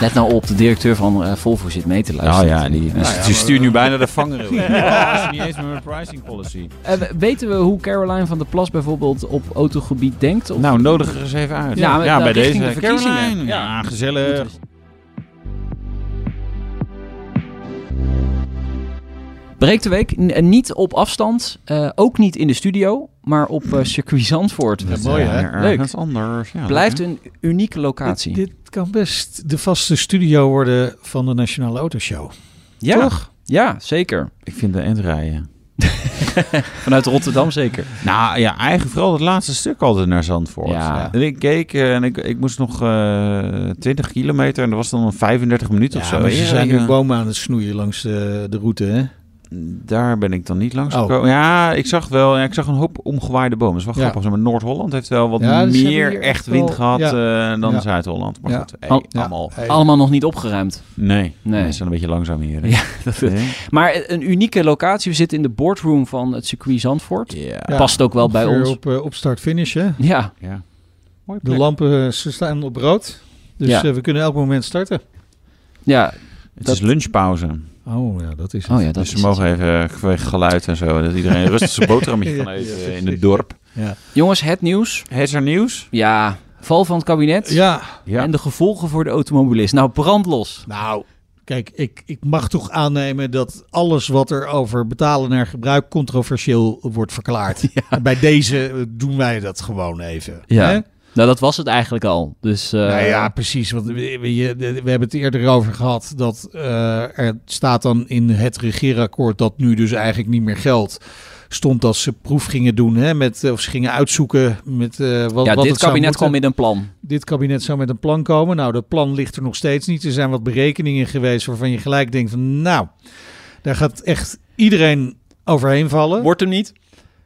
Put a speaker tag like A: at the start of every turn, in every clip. A: Let nou op, de directeur van eh, Volvo zit mee te
B: Nou
A: luisteren.
B: ja, die,
A: Ja,
B: die stuurt nu bijna de vangrail. in. Dat is niet eens meer een pricing policy.
A: Eh, we- weten we hoe Caroline van der Plas bijvoorbeeld op autogebied denkt? Of-
B: Nou, nodig er eens even uit.
A: Ja, maar nou,
B: bij
A: richting
B: deze.
A: de verkiezingen.
B: Caroline,
A: Ja.
B: ja, gezellig.
A: Breekt de week n- eh, niet op afstand, eh, ook niet in de studio, maar op eh, circuit Zandvoort.
B: Dat is,
C: mooi,
B: eh,
C: hè?
B: ergens
A: Leuk.
B: anders. Ja,
A: Blijft een unieke locatie.
C: Dit, dit kan best de vaste studio worden van de Nationale Autoshow.
A: ja, ja, zeker.
B: Ik vind de endrijden.
A: Vanuit Rotterdam zeker.
B: Nou ja, eigenlijk vooral het laatste stuk altijd naar Zandvoort.
A: Ja.
B: En ik keek eh, en ik, ik moest nog eh 20 kilometer en dat was dan een 35 minuten of zo.
C: maar ze
B: Ja,
C: zijn
B: ja.
C: nu bomen aan het snoeien langs de, de route, hè?
B: Daar ben ik dan niet langs
C: Oh.
B: gekomen. Ja, ik zag wel, ja, ik zag een hoop omgewaaide bomen. Dat is wel
C: Ja.
B: grappig. Zeg maar Noord-Holland heeft wel wat
C: Ja, dus hebben
B: meer
C: hier
B: echt
C: wel-
B: wind gehad eh, dan
C: Ja.
B: Zuid-Holland. Maar
C: Ja. Oh,
B: goed, hey,
A: Al-
C: Ja. Eh.
B: allemaal.
C: Hey.
A: Allemaal nog niet opgeruimd.
B: Nee,
A: Nee.
B: mensen zijn een beetje langzaam hier. hè.
A: Ja, dat-
B: Nee?
A: Maar eh, een unieke locatie. We zitten in de boardroom van het circuit Zandvoort.
B: Ja.
C: Ja,
A: Past ook wel bij
C: ongeveer
A: ons.
C: Op, eh, op start-finish, hè?
A: Ja,
B: ja. Mooi
C: De lampen eh, ze staan op rood. Dus
A: Ja.
C: eh, we kunnen elk moment starten.
A: ja.
B: Het
A: Dat-
B: is lunchpauze.
C: Oh, ja, dat is het.
A: Oh ja, dat
B: dus
A: is
B: ze mogen even eh, vanwege geluid en zo. Dat iedereen rustig zijn boterhammetje kan
C: Ja,
B: eten
C: ja,
B: eh, in
C: precies.
B: het dorp.
C: Ja.
A: het. Jongens, het nieuws.
B: Het is er nieuws.
A: Ja, val van het kabinet.
C: ja,
B: Ja.
A: En de gevolgen voor de automobilist. Nou, brandlos.
C: nou... Kijk, ik, ik mag toch aannemen dat alles wat er over betalen naar gebruik controversieel wordt verklaard. En Bij deze eh, doen wij dat gewoon even.
A: Ja.
C: hè?
A: Nou, dat was het eigenlijk al. Dus, eh,
C: nou ja, precies. Want we, we- je- we hebben het eerder over gehad dat eh, er staat dan in het regeerakkoord dat nu dus eigenlijk niet meer geldt. Stond dat ze proef gingen doen, hè, met, of ze gingen uitzoeken met eh, wat,
A: ja,
C: wat
A: dit
C: het
A: kabinet
C: zou moeten.
A: kwam met een plan.
C: Dit kabinet zou met een plan komen. Nou, dat plan ligt er nog steeds niet. Er zijn wat berekeningen geweest waarvan je gelijk denkt van... nou, daar gaat echt iedereen overheen vallen.
A: Wordt hem niet?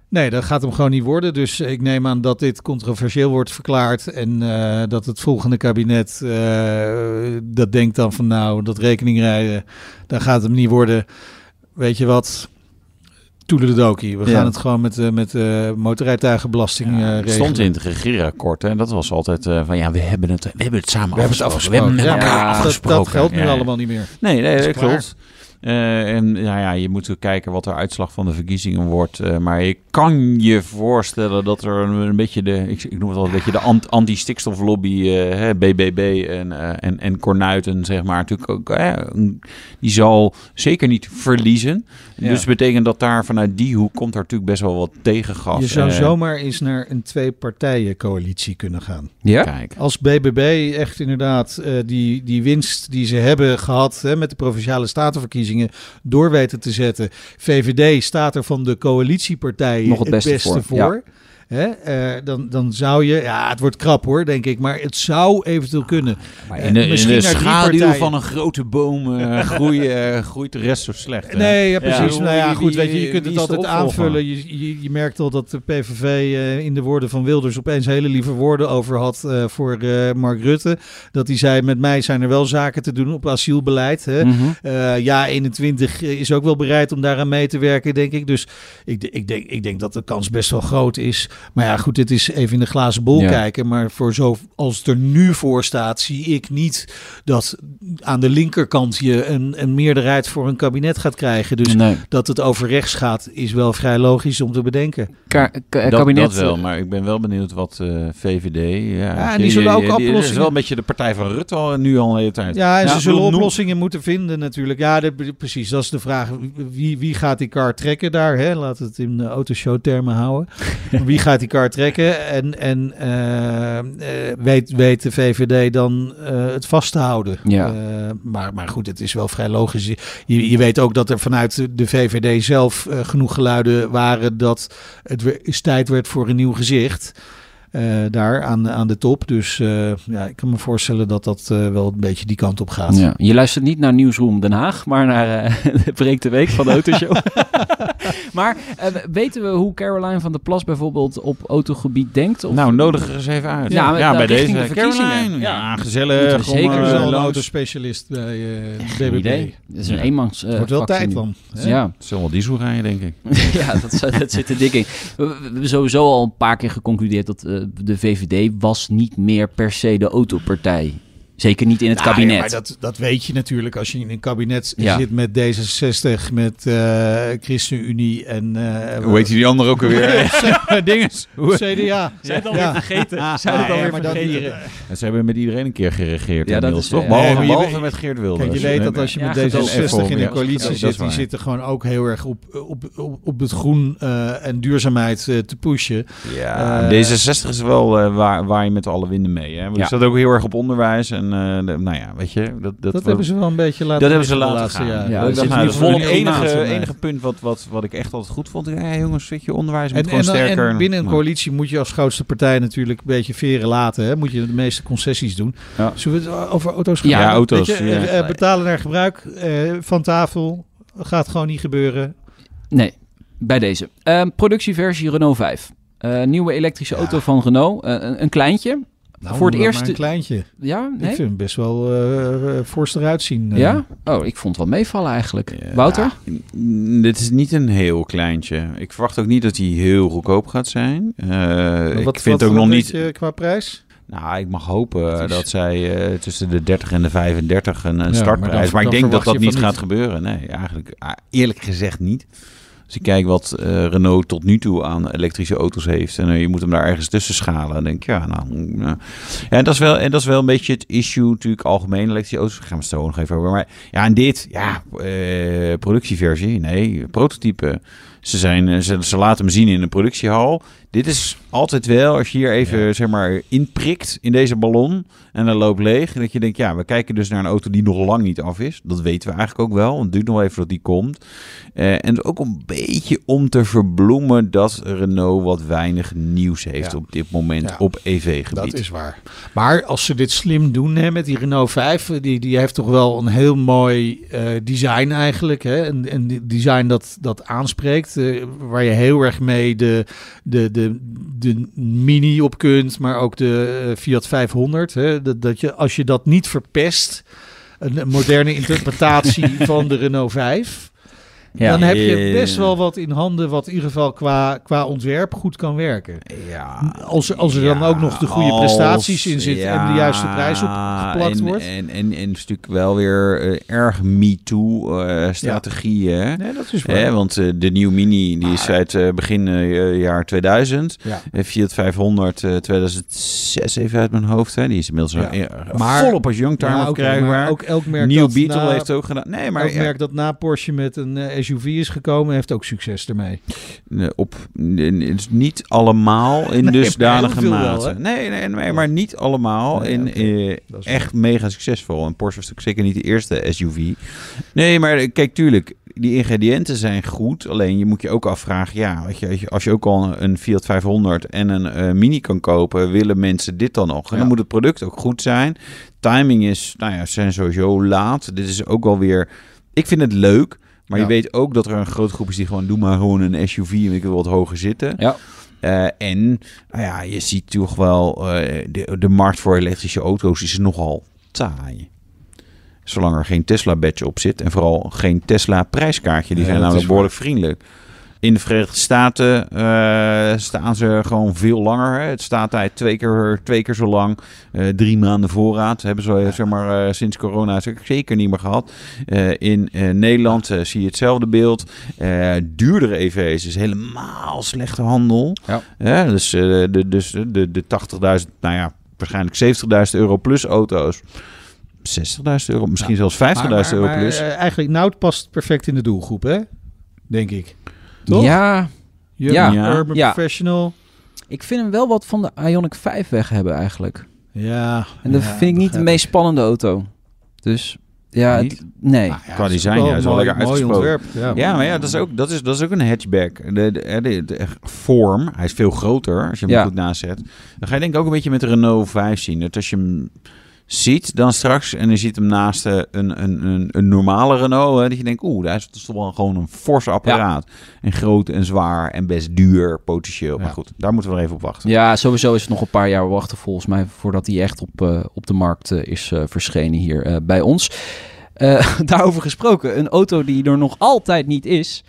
C: Nee, dat gaat hem gewoon niet worden. Dus ik neem aan dat dit controversieel wordt verklaard. En eh, dat het volgende kabinet eh, dat denkt dan van nou, dat rekeningrijden, dat gaat hem niet worden. Weet je wat? Toedeledokie. We
A: Ja.
C: gaan het gewoon met, eh, met eh, motorrijtuigenbelasting eh,
B: Ja, het
C: regelen.
B: stond in het regeerakkoord. En dat was altijd eh, van ja, we hebben het, we hebben het samen
C: We hebben het
B: afgesproken.
C: afgesproken.
B: We hebben met
A: Ja,
B: elkaar
C: dat-
B: afgesproken.
C: Dat geldt nu
B: Ja, ja.
C: allemaal niet meer.
B: Nee, nee
C: Dat
B: dat,
C: is klaar.
B: klopt. Eh, en nou ja, je moet kijken wat de uitslag van de verkiezingen wordt. Eh, maar je kan je voorstellen dat er een, een beetje de, ik, ik noem het al een beetje de ant- anti-stikstoflobby, eh, hè, BBB en, eh, en, en Cornuiten, zeg maar, natuurlijk ook, eh, een- die zal zeker niet verliezen.
C: Ja.
B: Dus betekent dat daar vanuit die hoek komt daar natuurlijk best wel wat tegengas.
C: Je zou
B: Eh,
C: zomaar eens naar een twee-partijen coalitie kunnen gaan.
A: Ja.
B: Kijk.
C: Als BBB echt inderdaad eh, die, die winst die ze hebben gehad hè, met de provinciale statenverkiezingen door weten te zetten. VVD staat er van de coalitiepartijen
A: Nog het beste voor,
C: Hè, eh, dan, dan zou je, ja, het wordt krap hoor, denk ik, maar het zou eventueel kunnen.
B: Maar
C: Eh,
B: in de, in
C: misschien
B: de
C: naar drie
B: schaduw
C: partijen.
B: van een grote boom eh, groeien, eh, groeit de rest zo slecht. hè?
C: Nee, ja, precies.
B: Ja.
C: Nou ja,
B: Wie-
C: goed,
B: wie-
C: weet je, je kunt
B: wie
C: het
B: is de
C: altijd
B: opvolger?
C: aanvullen. Je, je, je merkt al dat de PVV eh, in de woorden van Wilders opeens hele lieve woorden over had eh, voor eh, Mark Rutte. Dat hij zei, met mij zijn er wel zaken te doen op asielbeleid. Hè?
A: Mhm.
C: Eh, ja, 21 is ook wel bereid om daaraan mee te werken, denk ik. Dus ik, d- ik, denk, ik denk dat de kans best wel groot is. Maar ja, goed, dit is even in de glazen bol
A: Ja.
C: kijken. Maar voor zo, als het er nu voor staat, zie ik niet dat aan de linkerkant je een, een meerderheid voor een kabinet gaat krijgen. Dus
A: Nee.
C: dat het over rechts gaat, is wel vrij logisch om te bedenken.
A: Ka- ka-
B: Dat,
A: Eh, kabinet.
B: dat wel, maar ik ben wel benieuwd wat eh, VVD... Ja,
C: en die zullen ook
B: Dat is
C: oplossingen-
B: wel een beetje de partij van Rutte al, nu al een hele tijd.
C: Ja, en
B: Ja,
C: ze zullen
B: noem-
C: oplossingen moeten vinden natuurlijk. Ja, dat- precies. Dat is de vraag. Wie, wie gaat die kar trekken daar? Hè? Laat het in de autoshow-termen houden. wie gaat die kar trekken? En, en eh, eh, weet, weet de VVD dan eh, het vast te houden?
A: Ja.
C: Eh, maar, maar goed, het is wel vrij logisch. Je, je weet ook dat er vanuit de VVD zelf eh, genoeg geluiden waren dat het we- is tijd werd voor een nieuw gezicht. eh, daar aan, aan de top. Dus eh, ja, ik kan me voorstellen dat dat eh, wel een beetje die kant op gaat.
A: Ja. Je luistert niet naar Nieuwsroom Den Haag, maar naar eh, de Breek de Week van de Autoshow. Maar eh, weten we hoe Caroline van der Plas bijvoorbeeld op autogebied denkt? Of
B: Nou, nodig er eens even uit.
A: Ja, maar daar
B: bij
A: richting
B: deze.
A: de verkiezingen.
B: Caroline,
A: Ja.
B: ja,
A: Moeten
B: gezellig.
A: we
B: gewoon,
A: zeker
B: eh,
A: wel
C: een
B: langs.
C: autospecialist bij eh,
A: geen
C: BBB.
A: idee. Dat is een
B: Ja.
A: eenmans. eh,
C: Het wordt wel
A: vak,
C: tijd
A: vind ik.
C: dan. hè?
A: Ja,
B: Het zal wel diesel rijden, denk ik.
A: ja dat, zou- dat zit er dik in. We- We we hebben sowieso al een paar keer geconcludeerd dat eh, de VVD was niet meer per se de autopartij. Zeker niet in het
C: Nou, ja,
A: kabinet.
C: maar dat, dat weet je natuurlijk als je in een kabinet
A: Ja.
C: zit met D66, met eh ChristenUnie en... eh,
B: Hoe heet die andere ook alweer? Dinges.
C: CDA.
A: Zijn het
C: alweer Ja.
A: vergeten?
C: Zijn het Ah, ja, alweer maar dat- vergeten?
B: Ze hebben met iedereen een keer geregeerd.
A: Ja,
B: Ja,
A: dat
B: inmiddels,
A: is-
B: toch?
A: ja.
B: Behalve,
C: Nee, maar je
B: behalve
C: weet-
B: met Geert Wilders.
C: Kijk, je weet dat als je
A: Ja,
C: met
A: gedoogd.
C: D66 in
B: Ja,
C: de
B: dat
C: coalitie
B: is
C: zit, die
B: waar.
C: zitten gewoon ook heel erg op, op, op, op het groen eh, en duurzaamheid eh, te pushen.
B: Ja,
C: Eh,
B: D66 is wel eh, waar, waar je met alle winden mee. Hè? Want
A: Ja.
B: Het staat ook heel erg op onderwijs. En eh, de- nou ja, weet je, dat, dat,
C: Dat,
B: wordt-
C: hebben ze wel een beetje laten
B: dat hebben ze
C: liggen de
B: laten
C: laatste
B: gaan.
C: jaren.
A: Ja,
B: dat
A: we
B: is
A: zitten
B: nou,
A: nu
B: dat
A: vol
B: vond
A: op
B: ik
A: één
B: enige,
C: maat, nee.
B: enige punt wat, wat, wat ik echt altijd goed vond. Ja, jongens, weet je, onderwijs moet
C: En,
B: gewoon
C: en, dan-
B: sterker.
C: en binnen een
B: Nou,
C: coalitie moet je als grootste partij natuurlijk een beetje veren laten. Hè? Moet je de meeste concessies doen.
B: Ja.
C: Zullen we het over auto's gaan
A: Ja,
C: hebben?
B: auto's,
C: Weet je,
B: ja.
C: eh, eh, betalen naar gebruik eh, van tafel. Gaat gewoon niet gebeuren.
A: Nee, bij deze. Ehm, productieversie Renault 5. Eh, nieuwe elektrische
C: Ja.
A: auto van Renault. Eh, een, een kleintje. Voor het
C: noem
A: eerst-
C: Nou, maar een kleintje.
A: Ja, nee?
C: Ik vind hem best wel eh eh, fors eruit zien. eh.
A: Ja? Oh, ik vond het wel meevallen eigenlijk.
B: eh,
A: Wouter?
B: ja, mm, dit is niet een heel kleintje. Ik verwacht ook niet dat hij heel goedkoop gaat zijn. Eh,
C: Maar
B: ik vind ook nog
C: weet
B: niet...
C: je qua prijs?
B: Nou, ik mag hopen
A: Het is-
B: dat zij eh, tussen de 30 en de 35 een, een
C: maar
B: startprijs.
C: dan-
B: Maar, ik
C: dan
B: denk dat
C: verwacht
B: dat
C: je
B: niet
C: van
B: gaat
C: niet.
B: gebeuren. Nee, eigenlijk ah, eerlijk gezegd niet. Als ik kijk wat eh, Renault tot nu toe aan elektrische auto's heeft. En eh, je moet hem daar ergens tussen schalen. Dan denk ik, ja, nou. mm, ja. Ja, en, dat is wel, en dat is wel een beetje het issue, natuurlijk, algemeen elektrische auto's. Daar gaan we het zo nog even over. Maar ja, en dit, ja, eh, productieversie. Nee, prototype. Ze, zijn, eh, ze, ze laten hem zien in een productiehal. Dit is altijd wel, als je hier even zeg maar, inprikt in deze ballon en hij loopt leeg. Dat je denkt, ja, we kijken dus naar een auto die nog lang niet af is. Dat weten we eigenlijk ook wel, want het duurt nog even dat die komt. Eh, en ook een beetje om te verbloemen dat Renault wat weinig nieuws heeft
C: Ja.
B: op dit moment
C: Ja.
B: op E EV-gebied.
C: Dat is waar. Maar als ze dit slim doen hè, met die Renault 5, eh, die, die heeft toch wel een heel mooi eh, design eigenlijk. Hè? Een, een design dat, dat aanspreekt, eh, waar je heel erg mee de, de, de, de Mini op kunt, maar ook de eh, Fiat 500. Hè? Dat, dat je, als je dat niet verpest, een, een moderne interpretatie van de Renault 5... dan heb je best wel wat in handen wat in ieder geval qua, qua ontwerp goed kan werken.
B: Ja,
C: Als er- als er dan ook nog de goede prestaties in zitten en de juiste prijs opgeplakt
B: en,
C: wordt.
B: En, en, en een stuk wel weer eh, erg MeToo-strategieën.
C: Nee, dat is
B: Hè, want eh, de nieuwe Mini die is uit eh, begin eh, jaar 2000.
C: Ja.
B: Eh, Fiat 500 eh, 2006 even uit mijn hoofd. Hè. Die is inmiddels
C: Ja.
B: al, eh,
C: Maar-
B: volop als youngtimer
C: Maar ook, maar
B: verkrijgbaar.
C: ook elk merk
B: Nieuw
C: dat
B: Beetle
C: na,
B: heeft het ook gedaan. Nee, maar
C: elk
B: ja,
C: merk dat na Porsche met een eh, SUV is gekomen, heeft ook succes ermee.
B: eh, op, n- n- niet allemaal in dusdanige
C: heel veel wel,
B: mate.
C: hè?
B: nee, nee, nee, maar niet allemaal.
C: Nee,
B: in,
C: oké.
B: eh,
C: Dat is
B: echt mega succesvol. En Porsche was natuurlijk zeker niet de eerste SUV. Nee, maar eh, kijk, tuurlijk, die ingrediënten zijn goed. Alleen je moet je ook afvragen, ja, weet je, weet je, als je ook al een Fiat 500 en een eh, Mini kan kopen, willen mensen dit dan nog? En
C: Ja.
B: dan moet het product ook goed zijn. Timing is, nou ja, ze zijn sowieso laat. Dit is ook alweer, ik vind het leuk. Maar
C: Ja.
B: je weet ook dat er een groot groep is die gewoon, doe maar gewoon een SUV en ik wil wat hoger zitten.
A: Ja.
B: Eh, en nou ja, je ziet toch wel, eh, de, de markt voor elektrische auto's is nogal taai. Zolang er geen Tesla-badge op zit en vooral geen Tesla-prijskaartje. Die
C: Nee,
B: zijn
C: dat
B: namelijk
C: is waar.
B: behoorlijk vriendelijk. In de Verenigde Staten eh, staan ze gewoon veel langer. Hè. Het staat daar twee keer, twee keer zo lang. Eh, drie maanden voorraad hebben ze eh, zeg maar, eh, sinds corona zeker niet meer gehad. Eh, in eh, Nederland eh, zie je hetzelfde beeld. Eh, duurdere EV's is helemaal slechte handel.
A: Ja.
B: Hè, dus eh, de, dus de, de 80.000, nou ja, waarschijnlijk 70.000 euro plus auto's. 60.000 euro, misschien zelfs 50.000
C: Maar-
B: euro
C: maar,
B: plus.
C: eh, eigenlijk, Nout past perfect in de doelgroep, hè? Denk ik. Toch?
A: Ja,
C: Young,
A: Ja.
B: Ja.
C: Urban
A: Ja.
C: professional.
A: ik vind hem wel wat van de Ionic 5 weg hebben eigenlijk.
C: Ja.
A: En dat
C: ja,
A: vind ik niet de
C: begrijp
A: meest spannende auto. Dus ja,
B: Niet?
A: het- nee.
C: Nou ja,
B: Qua
C: het is
B: design,
C: wel
B: ja, is wel
C: mooi-
B: lekker
C: mooi
B: uitgesproken.
C: ontwerp,
A: Oh.
C: ja.
B: Ja, maar ja, dat is ook, dat is, dat is ook een hatchback. De, de, de- de vorm, hij is veel groter als je hem
A: Ja.
B: goed nazet. Dan ga je denk ik ook een beetje met de Renault 5 zien. Dat als je hem ziet dan straks... en je ziet hem naast eh, een, een, een, een normale Renault... Hè, dat je denkt, oeh, daar is het toch wel gewoon een fors apparaat. En groot en zwaar en best duur potentieel. Maar
C: Ja.
B: goed, daar moeten we nog even op wachten.
A: Ja, sowieso is het nog een paar jaar wachten volgens mij voordat hij echt op, eh, op de markt eh, is eh, verschenen hier eh, bij ons. Eh, daarover gesproken, een auto die er nog altijd niet is,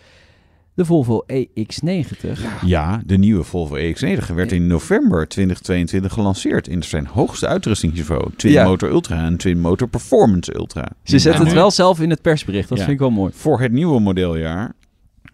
A: de Volvo E EX90.
B: Ja, de nieuwe Volvo EX90 werd in november 2022 gelanceerd... in zijn hoogste uitrustingsniveau. Twin
A: Ja.
B: Motor Ultra en Twin Motor Performance Ultra.
A: Ze zetten
B: Nou,
A: het wel zelf in het persbericht, dat
B: Ja.
A: vind ik wel mooi.
B: Voor het nieuwe modeljaar...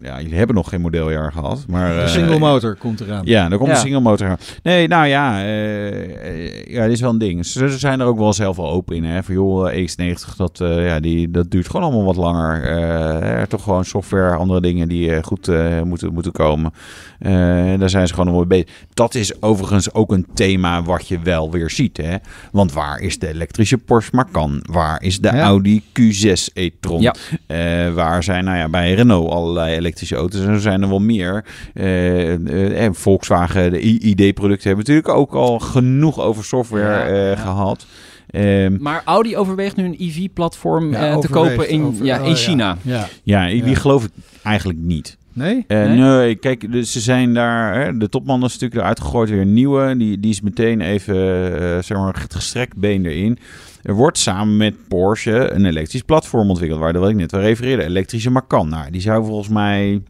B: Ja, jullie hebben nog geen modeljaar gehad, maar...
C: De
B: eh,
C: single motor komt eraan.
B: Ja, daar komt
A: Ja.
B: een single motor aan. Nee, nou ja, eh, eh, ja, dit is wel een ding. Ze ze zijn er ook wel zelf wel open in. Hè? Van joh, eh, X90, dat, eh, ja, die, dat duurt gewoon allemaal wat langer. Eh, eh, toch gewoon software, andere dingen die eh, goed eh, moeten, moeten komen. Eh, daar zijn ze gewoon nog mee bezig. Dat is overigens ook een thema wat je wel weer ziet. Hè? Want waar is de elektrische Porsche Macan? Waar is de
C: Ja.
B: Audi Q6 e-tron?
A: Ja.
B: Eh, waar zijn, nou ja, bij Renault allerlei elektrische auto's. En er zijn er wel meer. Eh, eh, en Volkswagen, de ID-producten hebben natuurlijk ook al genoeg over software
A: Ja,
B: eh,
A: ja.
B: gehad. Ehm,
A: Maar Audi overweegt nu een EV-platform
C: Ja,
A: Eh, te
C: overweegt,
A: kopen in,
C: over-
A: ja,
C: oh,
A: in China.
C: Ja.
B: ja, ik- die
C: Ja.
B: geloof ik eigenlijk niet.
C: Nee?
B: Eh,
A: Nee?
B: nee? kijk, dus ze zijn daar. Hè, de topman is natuurlijk eruit gegooid, weer een nieuwe. Die, die is meteen even, eh, zeg maar, het gestrekt been erin. Er wordt samen met Porsche een elektrisch platform ontwikkeld, waar dat ik net wel refereerde. Elektrische Macan. Nou, die zou volgens mij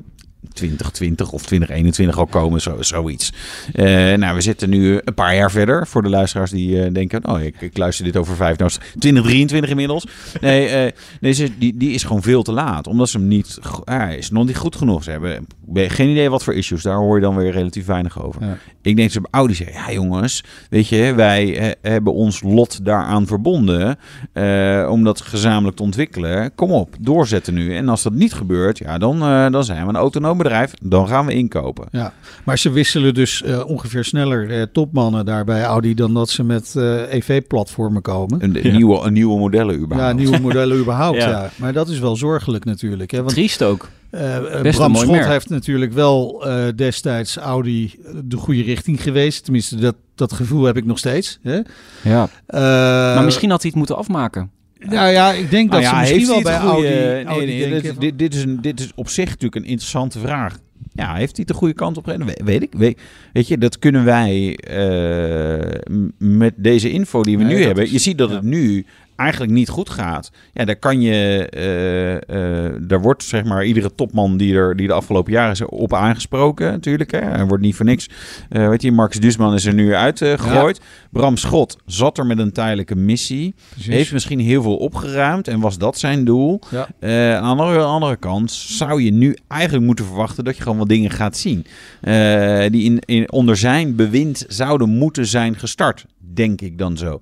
B: 2020 of 2021 al komen, zo, zoiets. Eh, nou, we zitten nu een paar jaar verder voor de luisteraars die eh, denken: oh, ik, ik luister dit over vijf, nou, is het 2023 inmiddels. Nee, eh, nee ze- die, die is gewoon veel te laat, omdat ze hem niet, go- ah, hij is nog niet goed genoeg. Ze hebben geen idee wat voor issues, daar hoor je dan weer relatief weinig over.
C: Ja.
B: Ik denk dat ze bij Audi zeggen, ja jongens, weet je, wij eh, hebben ons lot daaraan verbonden eh, om dat gezamenlijk te ontwikkelen. Kom op, doorzetten nu. En als dat niet gebeurt, ja, dan, eh, dan zijn we een autonoom bedrijf, dan gaan we inkopen.
C: Ja, maar ze wisselen dus eh, ongeveer sneller eh, topmannen daar bij Audi dan dat ze met eh, EV-platformen komen.
B: Een, een nieuwe, een nieuwe modellen überhaupt.
C: Ja, nieuwe modellen überhaupt,
A: Ja.
C: ja. Maar dat is wel zorgelijk natuurlijk. Hè? Want
A: Triest ook.
C: eh, eh,
A: Best een
C: Bram
A: mooi
C: Schot
A: merk.
C: heeft natuurlijk wel eh, destijds Audi eh, de goede richting geweest. Tenminste, dat, dat gevoel heb ik nog steeds. Hè?
A: Ja.
C: Eh,
A: Maar misschien had hij het moeten afmaken.
C: Nou ja, ik denk dat
B: Nou ja,
C: ze misschien
B: heeft
C: wel
B: hij
C: bij
B: het oh,
C: Audi,
B: goede- nee,
C: Audi
B: nee,
C: denken
B: dit,
C: van-
B: dit, dit is een, dit is op zich natuurlijk een interessante vraag. Ja, heeft hij het de goede kant op gereden? We- Weet ik. Weet, weet je, dat kunnen wij eh, m- met deze info die we
C: Nee,
B: nu
C: dat
B: hebben.
C: is-
B: je ziet dat
C: ja.
B: het nu eigenlijk niet goed gaat. Ja, daar kan je... eh, eh, daar wordt zeg maar iedere topman die er die de afgelopen jaren is op aangesproken natuurlijk. Hè. Er wordt niet voor niks. eh weet je, Marcus Dusman is er nu uitgegooid. Bram Schot zat er met een tijdelijke missie.
C: Precies.
B: Heeft misschien heel veel opgeruimd en was dat zijn doel.
C: Dus- Ja.
B: Eh, aan, de, aan de andere kant zou je nu eigenlijk moeten verwachten dat je gewoon wat dingen gaat zien. eh, die in, in, onder zijn bewind zouden moeten zijn gestart, denk ik dan zo.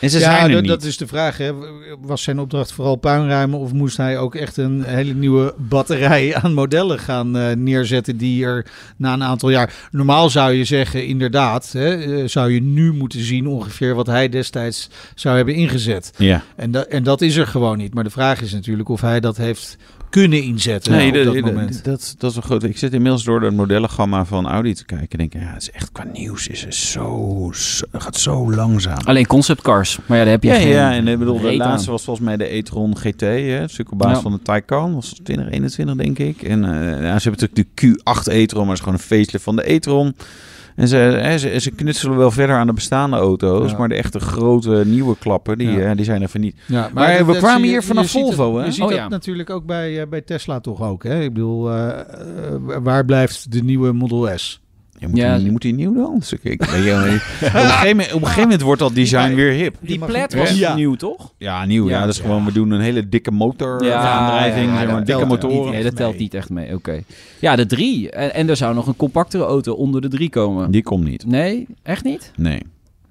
B: En ze zijn er
C: dat,
B: niet.
C: dat is de vraag. Hè. Was zijn opdracht vooral puinruimen of moest hij ook echt een hele nieuwe batterij aan modellen gaan eh, neerzetten die er na een aantal jaar... Normaal zou je zeggen, inderdaad, hè, eh, zou je nu moeten zien ongeveer wat hij destijds zou hebben ingezet.
B: Ja.
C: En, da en dat is er gewoon niet. Maar de vraag is natuurlijk of hij dat heeft kunnen inzetten
B: Nee,
C: op
B: dat,
C: dat,
B: dat-
C: moment.
B: dat, dat is een groot. Ik zit inmiddels door de modellengamma van Audi te kijken. En denk, ja, het is echt qua nieuws is het zo, zo, het gaat zo langzaam.
A: Alleen conceptcars. Maar ja, daar heb je
B: Ja,
A: geen
B: ja, en ik bedoel, de
A: reet aan.
B: laatste was volgens mij de e-tron GT, hè, het stuk op basis
A: Ja.
B: van de Taycan, was 2021 denk ik. En eh, ja, ze hebben natuurlijk de Q8 e-tron, maar het is gewoon een facelift van de e-tron. En ze, hè, ze, ze knutselen wel verder aan de bestaande auto's,
C: Ja.
B: maar de echte grote nieuwe klappen, die,
C: Ja.
B: eh, die zijn er van niet.
C: Ja,
B: Maar we
C: dat
B: kwamen
C: zie je-
B: hier vanaf
C: je ziet dat-
B: Volvo, hè?
C: Je ziet
A: Oh,
C: dat
A: ja.
C: natuurlijk ook bij, eh, bij Tesla toch ook, hè? Ik bedoel, eh, eh, waar blijft de nieuwe Model S?
B: Ja, moet,
A: Ja.
B: Die, moet die nieuw dan? Dus ik, ik, weet je wel niet. op, een gegeven moment, op een gegeven moment wordt dat design weer hip.
C: Die
A: Die
C: mag
A: plat
C: niet-
A: was
B: Ja.
A: nieuw, toch?
B: Ja, nieuw. Ja,
A: Ja.
B: dat is gewoon, we doen een hele dikke motor,
A: Ja,
B: eh, aandrijving,
A: ja, ja,
B: zeg maar,
C: dat
B: dikke
C: telt, ja.
B: motoren.
A: Nee, dat telt niet echt mee. Oké. Ja, de drie. En, en er zou nog een compactere auto onder de drie komen.
B: Die komt niet.
A: Nee, echt niet?
B: Nee.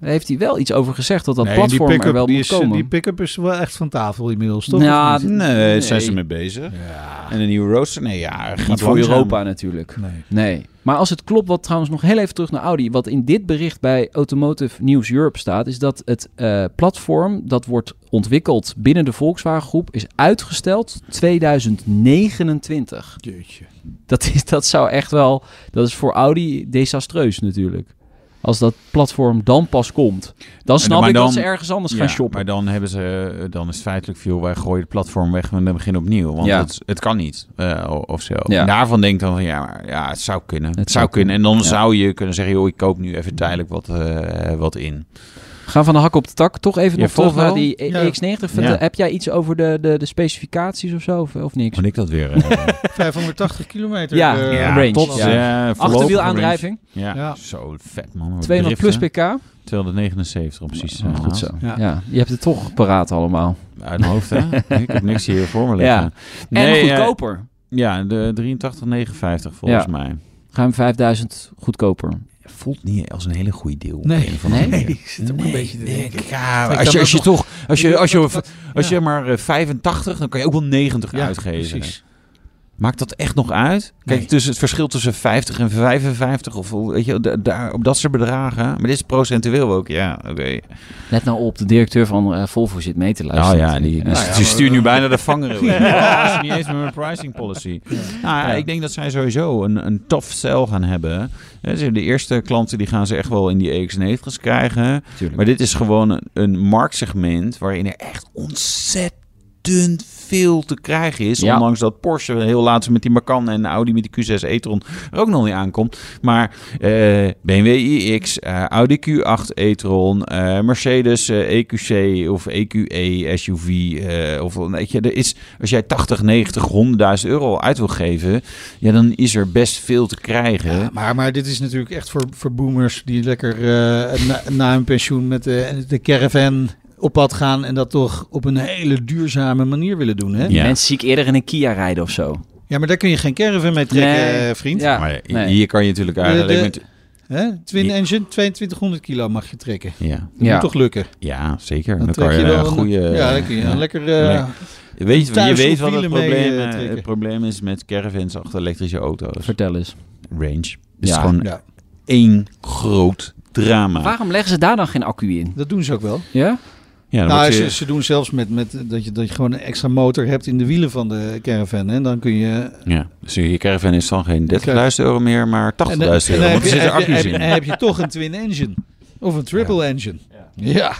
A: Daar heeft hij wel iets over gezegd dat dat
C: Nee,
A: platform
C: die pick-up,
A: er wel
C: die
A: moet
C: is,
A: komen.
C: Die pick-up is wel echt van tafel inmiddels, toch?
A: Ja,
C: Of niet?
B: Nee,
A: Ah, Nee.
B: daar zijn ze mee bezig.
C: ja.
B: En een nieuwe rooster? Nee, ja, gaat
A: niet voor
B: langzaam.
A: Europa natuurlijk.
C: Nee.
A: Nee. Maar als het klopt, wat trouwens nog heel even terug naar Audi. Wat in dit bericht bij Automotive News Europe staat, is dat het eh, platform dat wordt ontwikkeld binnen de Volkswagen groep is uitgesteld 2029.
C: Jeetje.
A: Dat, is, dat zou echt wel. Dat is voor Audi desastreus natuurlijk. Als dat platform dan pas komt, dan snap
B: maar
A: ik
B: dan-
A: dat ze ergens anders
B: Ja,
A: gaan shoppen.
B: Maar dan hebben ze, eh, dan is het feitelijk veel, wij gooien het platform weg en we beginnen opnieuw. Want
A: Ja.
B: het, het kan niet, eh, o- of zo.
A: Ja.
B: En daarvan denk ik dan van, ja, maar, ja het zou kunnen. Het,
A: zou
B: zou kunnen. En dan
A: kunnen, ja.
B: zou je kunnen zeggen, joh, ik koop nu even tijdelijk wat, eh, wat in.
A: Gaan van de hak op de tak. Toch even
B: Ja,
A: nog terug
B: Volvo?
A: naar die E-
C: Ja.
A: X90. Vertel-
B: Ja.
A: Heb jij iets over de, de, de specificaties of zo? Of, of niks?
B: Moet ik dat weer? eh,
C: 580 kilometer.
A: Ja,
C: eh,
A: ja, range,
B: tot,
A: ja.
B: eh, voorlopige range.
A: Achterwielaandrijving.
B: Ja.
C: Ja.
B: zo vet man.
A: 200 plus pk.
B: 279 om precies. te
A: Oh,
B: zijn.
A: goed zo. Ja.
C: Ja.
A: je hebt het toch paraat allemaal.
B: Uit mijn hoofd, hè? ik heb niks hier voor me liggen.
A: Ja.
B: Nee,
A: en
B: eh,
A: goedkoper.
B: ja, de 83,59 volgens
A: Ja.
B: mij.
A: Ruim 5000 goedkoper.
B: Voelt niet als een hele goede deal. op
C: Nee.
B: een of andere
A: Nee?
B: manier.
C: Ik zit ook een beetje te denken.
B: Ja,
C: Ik
B: als je,
C: kan
B: als je
C: dat
B: toch, als je, als je, als je,
C: ja.
B: maar eh, 85, dan kan je ook wel 90 uitgeven.
C: precies.
B: Maakt dat echt nog uit? Kijk,
C: Nee.
B: tussen het verschil tussen 50 en 55 of hoe- weet je, da- daar, op dat soort bedragen. Maar dit is procentueel ook, ja, oké.
A: Let nou op, de directeur van eh, Volvo zit mee te
B: Nou
A: luisteren.
B: ja, die, die,
A: Ja.
C: ja,
B: die
C: maar-
B: stuurt nu bijna de vanger. in. Ja, dat is niet eens meer een pricing policy. Nou, ja, ik denk dat zij sowieso een, een tough sell gaan hebben. Hè, ze- De eerste klanten die gaan ze echt wel in die EX90's krijgen.
A: Tuurlijk.
B: Maar dit is gewoon een, een marktsegment waarin er echt ontzettend veel te krijgen is.
A: Ja.
B: Ondanks dat Porsche heel laatst met die Macan en Audi met die Q6 e-tron er ook nog niet aankomt. Maar eh, BMW iX, eh, Audi Q8 e-tron, eh, Mercedes eh, EQC of E EQE SUV. eh, of, weet je, er is, als jij 80, 90, 100.000 euro uit wil geven, ja, dan is er best veel te krijgen.
C: Ja, maar, maar dit is natuurlijk echt voor, voor boomers die lekker eh, na, na hun pensioen met de, de caravan op pad gaan en dat toch op een hele duurzame manier willen doen. Hè? Ja.
B: Ja.
A: Mensen zie ik eerder in een Kia rijden of zo.
C: maar daar kun je geen caravan mee trekken,
A: Nee.
C: eh, vriend.
A: Ja,
B: maar
A: nee.
B: hier kan je natuurlijk eigenlijk...
C: de-
B: met-
C: Hè? Twin engine, 2200 kilo mag je trekken.
B: ja.
C: Dat
A: Ja.
C: moet toch lukken?
B: Ja, zeker.
C: Dan,
B: Dan,
C: trek
B: kan
C: je,
B: je,
C: wel
B: een
C: een-
B: goede...
C: Ja, dan kun je een
B: ja.
C: lekker... eh,
B: Lekker. Je weet, je
C: thuis
B: weet
C: op
B: wat het
C: wielen mee,
B: probleem,
C: eh,
B: eh,
C: trekken.
B: het probleem is met caravans achter elektrische auto's.
A: vertel eens.
B: Range. Het is
A: Ja.
B: gewoon
C: ja,
B: één groot drama.
A: Waarom leggen ze daar dan geen accu in?
C: dat doen ze ook wel.
A: Ja?
B: Ja, dan
C: Nou,
B: word
C: ze,
B: je,
C: ze doen zelfs met, met dat, je, dat je gewoon een extra motor hebt in de wielen van de caravan. En dan kun je...
B: ja, dus je caravan is dan geen 30.000 euro meer, maar 80.000
C: eh, en
B: euro.
C: dan-
B: Want
C: en dan
B: er
C: heb je-
B: zitten
C: heb je-
B: accu's
C: heb-
B: in.
C: en heb je toch een twin engine. Of een triple engine. Ja.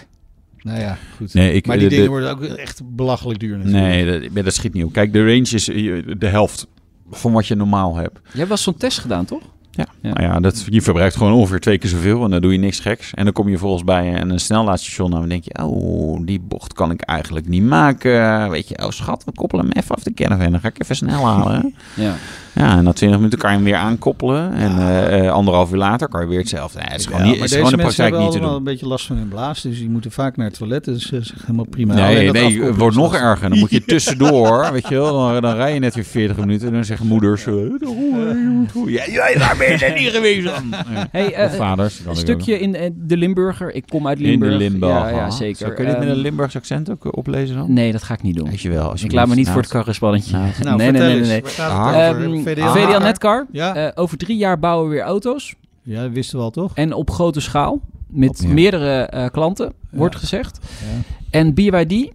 C: Nou ja, goed.
B: Nee, ik,
C: maar die
B: de-
C: dingen
B: de-
C: worden ook echt belachelijk duur natuurlijk.
B: nee dat, ja, dat schiet niet op. Kijk, de range is eh, de helft van wat je normaal hebt.
A: Jij hebt wel zo'n test gedaan, toch?
B: Ja,
A: Ja.
B: Nou ja dat, je verbruikt gewoon ongeveer twee keer zoveel en dan doe je niks geks. En dan kom je volgens bij een, een snelaadstation en dan denk je, oh, die bocht kan ik eigenlijk niet maken. Weet je, oh schat, we koppelen hem even af de caravan, dan ga ik even snel halen.
A: Ja.
B: ja, en na 20 minuten kan je hem weer aankoppelen en eh, eh, anderhalf uur later kan je weer hetzelfde. Nee, het is gewoon,
C: Ja,
B: niet,
C: maar
B: het is
C: deze
B: gewoon in de
C: mensen
B: praktijk
C: hebben
B: niet te
C: allemaal
B: doen.
C: een beetje last van hun blaas, dus die moeten vaak naar het toilet. Dus dat is helemaal prima. Alleen
B: Nee,
C: dat
B: nee, het
C: afkoppelen
B: wordt
C: is
B: nog
C: lastig.
B: erger. Dan moet je tussendoor, weet je wel. Dan, dan rij je net weer 40 minuten en dan zeggen moeders... eh, Ja, ja, daar ben je niet geweest dan. Ja.
A: Hey, eh,
B: Of vaders. kan
A: een
B: ik ook nog.
A: stukje in eh, de Limburger. Ik kom uit
B: In de
A: Limburg. Ja, ja
B: Ah,
A: zeker.
B: Zo, kun je dit met
A: Ehm,
B: een Limburgs accent ook eh, oplezen dan?
A: Nee, dat ga ik niet doen.
B: Weet je wel. Als je
A: Ik laat me niet voor het karrespannetje.
C: Nou,
A: nee, nee,
C: vertel
A: nee, nee,
C: eens,
A: nee.
C: waar gaat
B: Nou.
C: het over?
A: Ehm,
C: VDL?
A: VDL Netcar.
C: Ja.
A: Eh, over drie jaar bouwen we weer auto's.
C: Ja, dat wisten we al toch?
A: En op grote schaal. Met
B: Op, ja.
A: meerdere eh, klanten, wordt gezegd. En BYD?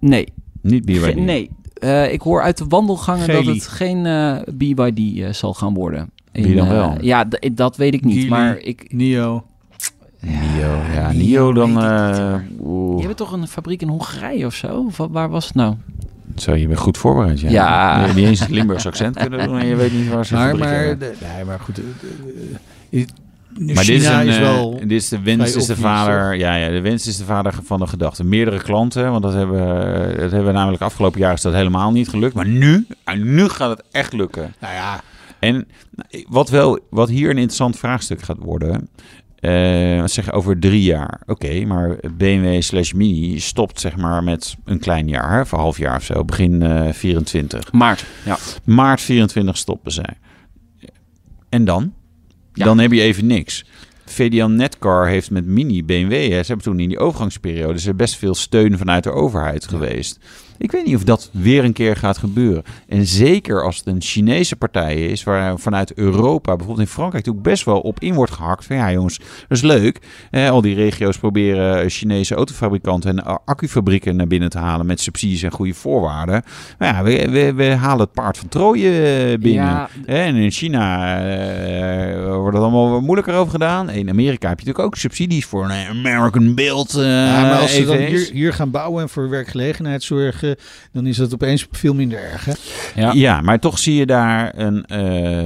A: Nee.
B: Niet bier
A: Ge- nee. Eh, ik hoor uit de wandelgangen
C: Geely.
A: dat het geen eh BYD eh, zal gaan worden.
B: Wie
A: In,
B: dan
A: eh,
B: wel?
A: ja, d- dat weet ik niet.
C: Geely.
A: Maar ik...
C: Nio.
B: Nio. Ja, Nio dan... eh
A: Je
B: oeh.
A: hebt toch een fabriek in Hongarije of zo? Of wa- waar was het nou?
B: Zo, je bent goed voorbereid. Ja.
A: Ja.
B: Je hebt niet eens het Limburgs accent kunnen doen en je weet niet waar ze
C: Maar,
B: fabriek
C: maar,
B: hebben.
C: de- nee, maar goed. eh, eh, eh,
B: Maar
C: China
B: dit is, een,
C: is
B: eh,
C: wel...
B: dit is de wens
C: vrij
B: is de
C: obvious,
B: vader. Ja, ja, de wens is de vader van de gedachte. Meerdere klanten, want dat hebben, dat hebben we namelijk afgelopen jaar is dat helemaal niet gelukt. Maar nu, ah, nu gaat het echt lukken.
C: Nou ja,
B: En wat, wel, wat hier een interessant vraagstuk gaat worden. eh, wat zeg je, over drie jaar. Oké, maar BMW slash Mini stopt zeg maar met een klein jaar. hè, Of een half jaar of zo. Begin eh 24.
A: Maart. Ja.
B: Maart 24 stoppen zij. En dan? Dan heb je even niks. VDL Netcar heeft met Mini BMW... Hè, ze hebben toen in die overgangsperiode... is er best veel steun vanuit de overheid geweest. Ik weet niet of dat weer een keer gaat gebeuren. En zeker als het een Chinese partij is, waar vanuit Europa, bijvoorbeeld in Frankrijk, ook best wel op in wordt gehakt. Van ja, jongens, dat is leuk. Eh, al die regio's proberen Chinese autofabrikanten en eh, accufabrieken naar binnen te halen met subsidies en goede voorwaarden. Maar ja, we, we, we halen het paard van Troje eh, binnen.
A: Ja, d-
B: En in China eh, wordt het allemaal wat moeilijker over gedaan. In Amerika heb je natuurlijk ook subsidies voor een American Build. eh,
C: Ja, maar als ze dan
B: EV's.
C: hier, hier gaan bouwen en voor werkgelegenheid zorgen, dan is dat opeens veel minder erg. Hè?
A: Ja.
B: Ja. maar toch zie je daar een,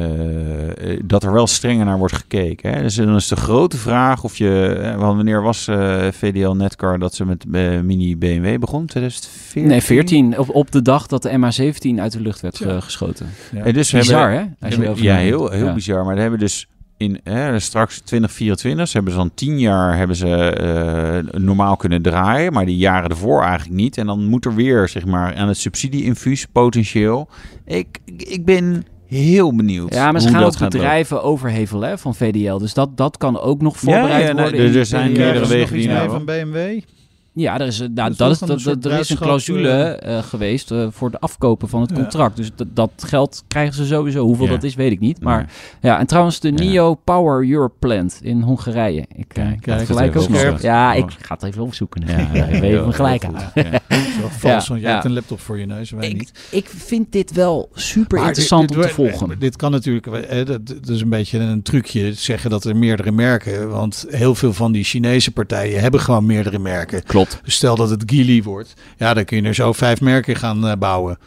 B: eh, eh, dat er wel strenger naar wordt gekeken. Hè? Dus dan is de grote vraag of je... eh, want wanneer was eh, VDL Netcar dat ze met eh, mini BMW begon? 2014?
A: Nee, 14. Op, op de dag dat de MH17 uit de lucht werd eh, geschoten.
B: Eh, dus we hebben-
A: Bizar, hè? Als je
B: Ja,
A: erover
B: ja,
A: nadenkt.
B: heel, heel
A: Ja.
B: bizar. Maar daar hebben dus in hè, straks 2024, ze hebben ze dan tien jaar hebben ze eh, normaal kunnen draaien, maar die jaren ervoor eigenlijk niet. En dan moet er weer zeg maar aan het subsidieinfuus potentieel. Ik, ik ben heel benieuwd.
A: Ja, maar ze
B: hoe
A: gaan
B: dat
A: ook
B: gaat lopen.
A: bedrijven overhevelen hè, van VDL. Dus dat, dat kan ook nog
B: Ja,
A: voorbereid
B: ja, nee,
A: worden.
B: er-
A: in die
B: er zijn
A: periode.
B: meerdere
C: Krijgen ze nog
B: wegen die nou-
C: iets
B: naar-
C: mee van BMW.
A: Ja, er is, eh, nou,
C: Dus
A: dat
C: dat
A: is,
C: dan
A: dat,
C: een soort
A: dat- er is een
C: bruidschat,
A: clausule eh, geweest eh, voor het afkopen van het
C: Ja.
A: contract. Dus dat, dat geld krijgen ze sowieso. Hoeveel
B: Ja.
A: dat is, weet ik niet. Maar
B: Nee.
A: ja, en trouwens de
B: Ja.
A: NIO Power Europe Plant in Hongarije. Ik eh,
B: Kijk,
A: ga het
B: dat
A: gelijk
B: is
A: ook nog.
B: even
A: eens-
B: opzoeken.
A: Ja,
B: Oh.
A: ik ga het even opzoeken.
B: Ja,
A: Ja,
B: ja,
A: even
B: heel-
A: gelijk
B: heel
A: aan.
B: goed. Ja.
C: Wel Vals,
A: Ja,
C: want jij
A: ja.
C: hebt een laptop voor je neus, wij niet.
A: Ik, ik vind dit wel super
C: Maar
A: interessant
C: dit-
A: om te
C: dit-
A: volgen.
C: Dit kan natuurlijk, eh, dat, dat is een beetje een trucje, zeggen dat er meerdere merken, want heel veel van die Chinese partijen hebben gewoon meerdere merken.
A: Klopt.
C: Dus stel dat het Geely wordt, ja, dan kun je er zo vijf merken gaan eh, bouwen.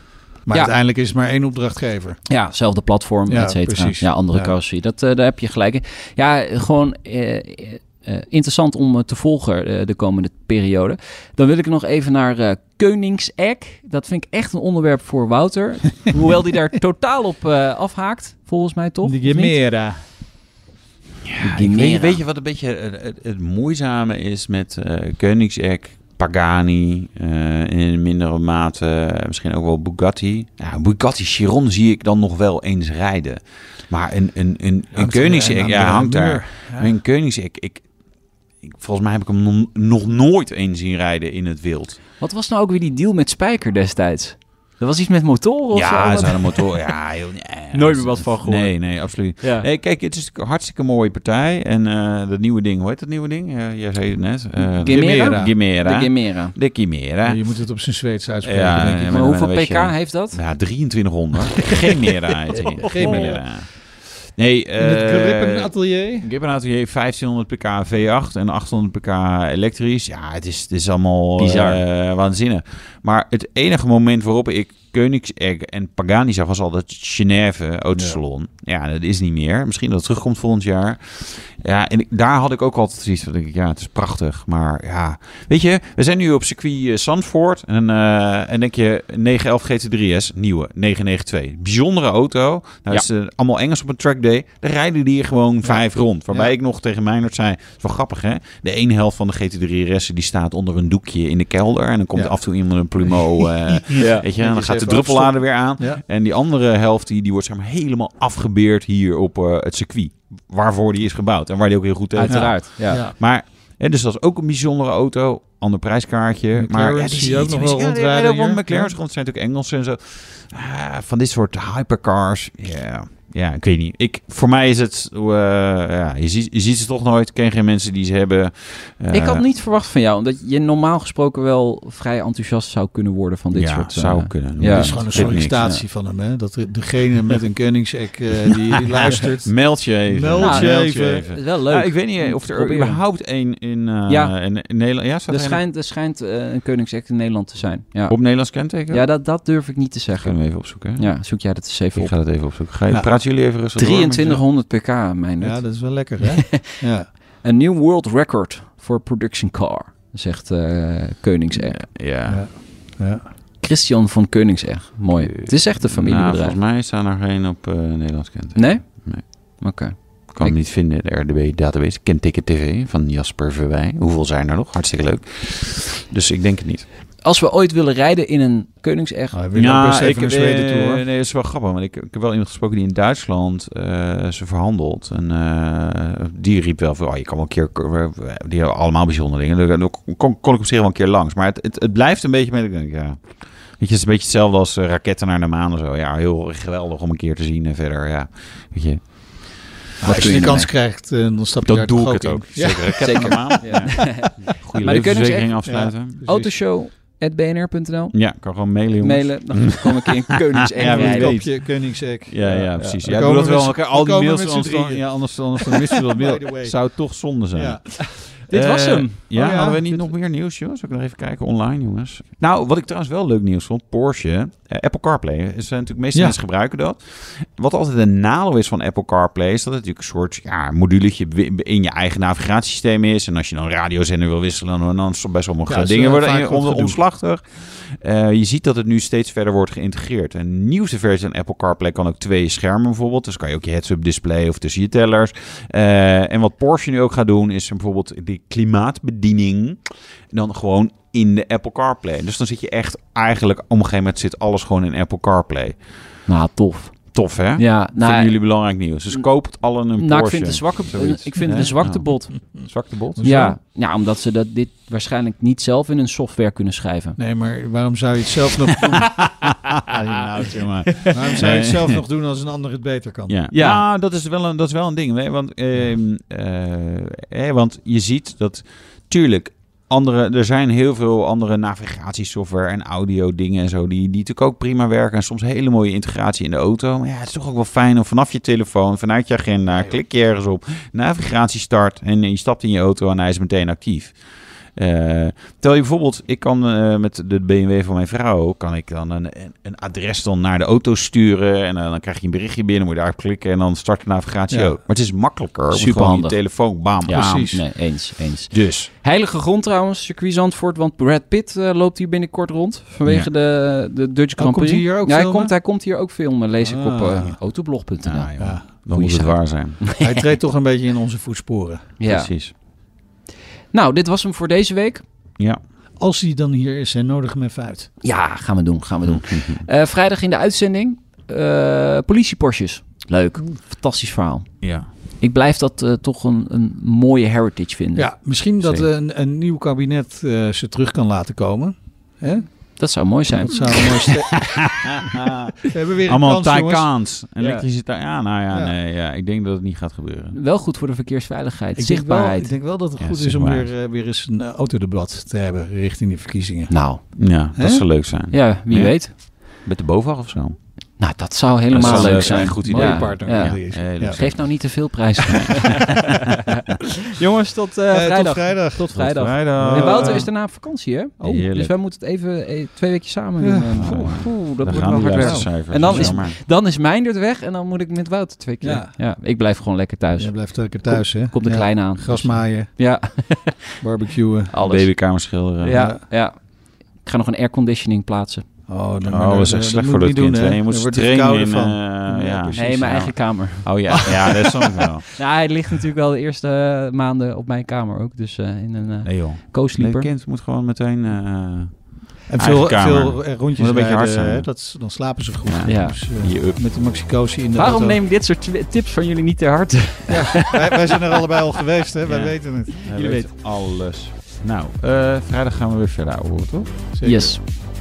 C: Maar
A: Ja.
C: uiteindelijk is het maar één opdrachtgever.
A: Ja, zelfde platform,
C: Ja,
A: et cetera.
C: precies.
A: Ja, andere
C: Ja.
A: carrosserie. Dat, eh, daar heb je gelijk in. Ja, eh, gewoon eh, eh, eh, interessant om eh, te volgen eh, de komende periode. Dan wil ik nog even naar eh Koningsegg. Dat vind ik echt een onderwerp voor Wouter. Hoewel die daar totaal op eh, afhaakt, volgens mij toch? of niet?
B: Ja,
A: De
B: ik
A: Gemera.
B: weet, weet je wat een beetje eh, het, het- het moeizame is met eh Koenigsegg, Pagani, eh, in een mindere mate eh, misschien ook wel Bugatti. Ja, Bugatti Chiron zie ik dan nog wel eens rijden. Maar een, een, een, een
C: Hangt er
B: Koenigsegg,
C: aan
B: ja,
C: de
B: hangt
C: muur.
B: daar. Een Koenigsegg, ik, ik, volgens mij heb ik hem nog, nog nooit eens zien rijden in het wild.
A: Wat was nou ook weer die deal met Spijker destijds? Er was iets met motoren of
B: ja,
A: zo?
B: ze hadden motor. Ja, joh, nee,
A: Nooit meer wat van gehoord.
B: Nee, nee, absoluut.
A: Ja.
B: Nee, kijk, het is een hartstikke mooie partij. En eh, dat nieuwe ding, hoe heet dat nieuwe ding? Eh, jij zei het net. eh
A: Chimera?
B: Chimera.
A: De Gemera.
B: De Chimera.
C: Je moet het op zijn Zweeds uitspreken.
B: Ja,
C: denk ik.
B: ja,
A: Maar
B: dan
A: hoeveel
B: weet je-
A: pk heeft dat?
B: Ja, 2300. Chimera heet die. Chimera. Nee,
C: In het Grippen
B: eh
C: atelier.
B: Grippenaut heeft 1500 pk V8 en 800 pk elektrisch. Ja, het is, het is allemaal
A: Bizar.
B: eh, waanzinnig. Maar het enige moment waarop ik Koenigsegg en Pagani zag was al dat Genève Autosalon. Ja. dat is niet meer. Misschien dat het terugkomt volgend jaar. Ja, en ik- daar had ik ook altijd zoiets van, denk ik, ja, het is prachtig. Maar ja, weet je, we zijn nu op circuit eh, Zandvoort. En, eh, en denk je, 911 GT3S, nieuwe, 992. Bijzondere auto. Nou,
A: Ja.
B: is eh, allemaal Engels op een trackday. Dan rijden die hier gewoon vijf rond. Waarbij
C: Ja.
B: ik nog tegen Meijnerd zei, het is wel grappig hè. De ene helft van de GT3S die staat onder een doekje in de kelder. En dan komt
C: Ja.
B: af en toe iemand een plumeau. eh, Weet je, en dan
C: eens
B: gaat de
C: even
B: druppellader weer aan.
C: Ja.
B: En die andere helft, die, die wordt zeg maar helemaal afgebeerd hier op eh, het circuit. Waarvoor die is gebouwd en waar die ook heel goed tegen gaat.
A: Uiteraard, ja.
C: Ja.
B: Maar, hè, dus dat is ook een bijzondere auto. Ander prijskaartje. maar ja,
C: McLaren's
B: die
C: zie je ook
B: niet.
C: nog wel
B: Ja,
C: rondrijden
B: Ja,
C: hier.
B: want McLaren's rond zijn natuurlijk Engelsen en zo. Ah, van dit soort hypercars. Ja, ja, ik weet niet. Ik, voor mij is het... eh, ja, je, ziet, je ziet ze toch nooit. Ik ken geen mensen die ze hebben. Eh,
A: Ik had niet verwacht van jou, omdat je normaal gesproken wel vrij enthousiast zou kunnen worden van dit
B: ja,
A: soort... eh,
B: zou kunnen.
A: ja.
C: Het is gewoon een
B: Dit niks,
C: sollicitatie van hem. Hè? Dat er- degene met een Koenigsegg eh, die, die luistert.
B: ja. Meld je even.
C: Meld
A: je
C: even.
A: Het is wel leuk.
B: Ja, ik weet niet eh, of er
A: Proberen.
B: überhaupt één in, eh,
A: Ja.
B: in, in Nederland... Ja, staat
A: Er
B: er één
A: schijnt, er schijnt eh, een koningsact in Nederland te zijn. Ja,
B: op Nederlands kenteken?
A: ja dat, dat durf ik niet te
B: Dat kunnen
A: zeggen.
B: we even opzoeken. hè?
A: Ja, zoek jij dat eens even
B: Ik
A: op.
B: ga dat even opzoeken. Ga je,
C: Ja.
B: Praten jullie even rustig door met jezelf?
A: 2300 pk, mijn
C: Ja,
A: net.
C: dat is wel lekker, hè? ja.
A: Een new world record voor production car, zegt eh Koningsegg.
B: Ja.
C: Ja.
A: Christian van Koningsegg, mooi. Het is echt een
B: Eh, Nou,
A: familiebedrijf.
B: volgens mij staan er geen op eh Nederlands kenteken.
A: Nee?
B: Nee.
A: Oké.
B: Ik kan hem niet vinden in de RDB-database. Kenteken TV van Jasper Verwij. Hoeveel zijn er nog? Hartstikke leuk. Dus ik denk het niet.
A: Als we ooit willen rijden in een Koningsegg...
C: Nou, we willen ook best even naar Zweden toe, hoor.
B: eh, nee, dat is wel grappig. Want ik, ik heb wel iemand gesproken die in Duitsland eh, ze verhandelt. En eh, die riep wel van, oh, je kan wel een keer... Die Dus, eh, hebben allemaal bijzondere dingen. Daar kon, kon ik op zich wel een keer langs. Maar het, het, het blijft een beetje met... Ik denk, ja, Weet je, het is een beetje hetzelfde als eh, raketten naar de maan en zo. Ja, heel geweldig om een keer te zien en verder, ja. Weet je,
C: Als
B: kun je
C: je de
B: nou
C: kans krijgt, eh, dan stap je
B: dat
C: daar toch
B: doe ik het
C: in.
B: ook.
C: Ja.
B: Zeker, raketten naar de maan. Ja. Goede
A: Maar dan kunnen ze
B: levensverzekering
A: echt-
B: afsluiten. Ja.
C: Precies.
A: Autoshow.bnr.nl.
B: kan gewoon mailen, jongens.
A: Mailen, dan kom ik in Koningseng
B: Ja, wie
A: rijden.
B: weet.
C: Kopje, Koningsegg.
B: Ja, ja, precies.
C: Dan
B: Ja, doe
C: komen
B: dat
C: we
B: wel
C: met-
B: elkaar. Al
C: dan
B: die
C: komen we
B: mails,
C: met z'n
B: anders, dan,
C: drieën.
B: ja, anders, anders dan missen we dat
C: By the
B: mail.
C: way.
B: Zou toch zonde zijn.
C: Ja.
A: Dit
B: Eh,
A: was hem.
B: Ja,
C: Oh ja,
B: hadden we niet
C: dit-
B: nog meer nieuws, joh? Zal ik nog even kijken online, jongens? Nou, wat ik trouwens wel leuk nieuws vond, Porsche, eh, Apple CarPlay. Er zijn natuurlijk meeste
C: Ja.
B: mensen gebruiken dat. Wat altijd een nadeel is van Apple CarPlay, is dat het natuurlijk een soort ja, moduletje wi- in je eigen navigatiesysteem is. En als je dan een radiozender wil wisselen, dan, dan is het bij sommige
C: Ja, dat is,
B: dingen
C: eh,
B: worden
C: vaak
B: je
C: wat
B: on-
C: gedoe.
B: omslachtig. Eh, je ziet dat het nu steeds verder wordt geïntegreerd. Een nieuwste versie van Apple CarPlay kan ook twee schermen bijvoorbeeld. Dus kan je ook je heads-up display of tussen je tellers. Eh, en wat Porsche nu ook gaat doen, is bijvoorbeeld die klimaatbediening dan gewoon in de Apple CarPlay. Dus dan zit je echt eigenlijk, op een gegeven moment zit alles gewoon in Apple CarPlay.
A: Nou, tof.
B: Tof hè?
A: Ja,
B: Vinden
A: nou,
B: jullie belangrijk nieuws? Dus koopt allen een
A: nou ik
B: Porsche.
A: vind het een zwakke, ik
B: Zoiets.
A: vind het
B: Nee?
A: een zwakte
B: Nou,
A: bot.
B: zwakte bot?
A: Ja, ja, omdat ze dat, dit waarschijnlijk niet zelf in hun software kunnen schrijven.
C: Nee, maar waarom zou je het zelf nog doen?
B: Ah, nou, zeg maar.
C: Waarom zou je het
B: Nee.
C: zelf nog doen als een ander het beter kan?
B: Ja,
A: Ja.
B: ja. Nou, dat, is wel een, dat is wel een ding. Hè? Want, ehm, eh, hè, want je ziet dat, tuurlijk, andere, er zijn heel veel andere navigatiesoftware en audio dingen en zo, die, die natuurlijk ook prima werken en soms hele mooie integratie in de auto. Maar ja, het is toch ook wel fijn om vanaf je telefoon, vanuit je agenda, klik je ergens op, navigatie start en je stapt in je auto en hij is meteen actief. Eh, Tel je bijvoorbeeld, ik kan eh, met de BMW van mijn vrouw, kan ik dan een, een- een adres dan naar de auto sturen. En eh, dan krijg je een berichtje binnen, moet je daarop klikken en dan start de navigatie
C: Ja.
B: ook. Maar het is makkelijker. om
A: Superhandig.
B: gewoon je telefoon, bam,
A: Ja,
B: bam.
C: precies.
A: Nee, eens, eens.
B: Dus,
A: Heilige grond trouwens, circuit Zandvoort, want Brad Pitt eh, loopt hier binnenkort rond vanwege de, de Dutch Grand
C: Oh, komt
A: Prix.
C: hij hier ook
A: ja, hij
C: filmen?
A: komt, hij komt hier ook filmen, lees ik op
C: Ah.
A: eh, autoblog.nl.
B: nou,
A: ja,
B: joh,
C: Ja.
B: dan moet het
A: zaak.
B: waar zijn.
C: Hij treedt toch een beetje in onze voetsporen.
B: Precies.
A: Nou, dit was hem voor deze week.
B: Ja.
C: Als hij dan hier is, en nodig hem even uit.
A: Ja, gaan we doen, gaan we doen. Eh, vrijdag in de uitzending, eh politieporsjes. Leuk, fantastisch verhaal.
B: ja.
A: Ik blijf dat eh, toch een, een mooie heritage vinden.
C: Ja, misschien dat
B: Zeker.
C: een, een nieuw kabinet eh, ze terug kan laten komen. Hè?
A: Dat zou mooi zijn.
C: Dat zou het mooiste... We hebben weer een
B: Allemaal
C: kans, jongens.
B: Taycans.
C: Ja.
B: Elektriciteit. Ja, nou ja,
C: Ja.
B: nee. Ja, ik denk dat het niet gaat gebeuren.
A: Wel goed voor de verkeersveiligheid,
C: Ik denk, wel,
A: zichtbaarheid.
C: ik denk wel dat het
B: Ja,
C: goed is om weer,
B: zichtbaarheid.
C: eh, weer eens een eh, autodebat te hebben richting die verkiezingen.
A: Nou,
B: Ja,
C: Hè?
B: dat zou leuk zijn.
A: ja, wie
B: Ja.
A: weet.
B: Met de BOVAG of zo.
A: Nou, dat zou helemaal
B: Dat zou
A: leuk
B: leuk
A: zijn.
B: zijn, goed idee.
A: Ja,
C: Mooie partner.
A: ja.
C: die is.
B: Eh,
C: Ja.
B: dat-
A: Geef nou niet te veel prijs. Jongens, tot, eh,
C: Eh,
A: vrijdag.
C: Tot vrijdag.
A: Tot vrijdag.
B: Vrijdag.
A: En Wouter is daarna op vakantie, hè?
B: Oh. Heerlijk.
A: Dus wij moeten het even eh, twee weken samen doen.
C: Ja.
A: Eh,
B: Ah.
A: oeh, oeh, dat
B: Dan
A: wordt
B: gaan
A: wel
B: die
A: hard werk.
B: luistercijfers.
A: En dan
B: Ja,
A: is-
B: maar.
A: Dan is Meindert weg en dan moet ik met Wouter twee keer. Ja,
C: Ja.
A: ik blijf gewoon lekker thuis.
C: Jij blijft lekker thuis, hè?
A: Komt de
C: Ja.
A: kleine aan.
C: Grasmaaien,
A: Ja,
C: barbecuen.
A: alles.
B: Babykamer schilderen.
A: Ja, ja. Ik ga nog een airconditioning plaatsen.
C: Oh, dan,
B: Oh, dat is echt slecht voor dat kind. hè. Je moet ze trainen in... eh, ja,
C: precies.
A: Nee, mijn eigen kamer.
B: Oh ja, ja dat snap ik wel.
A: Nou, hij ligt natuurlijk wel de eerste eh, maanden op mijn kamer ook. Dus eh, in een eh,
B: Nee joh.
A: co-sleeper.
B: Leuk kind moet gewoon meteen... eh,
C: En veel,
B: Eigen kamer.
C: veel eh, rondjes
B: Moet een beetje
C: rijden,
B: hard zijn.
C: hè, dat, is- dan slapen ze goed.
B: Ja.
A: Ja.
C: Dus, eh,
B: Hier up.
C: met de maxicosi in de
A: Waarom
C: auto.
A: neem ik dit soort twi- tips van jullie niet ter harte?
C: wij, wij zijn er allebei al geweest, hè? Wij
B: Ja.
C: weten het.
B: hij
C: Jullie
B: weet alles. Nou, eh, vrijdag gaan we weer verder, ouwe, toch?
C: Zeker.
A: Yes.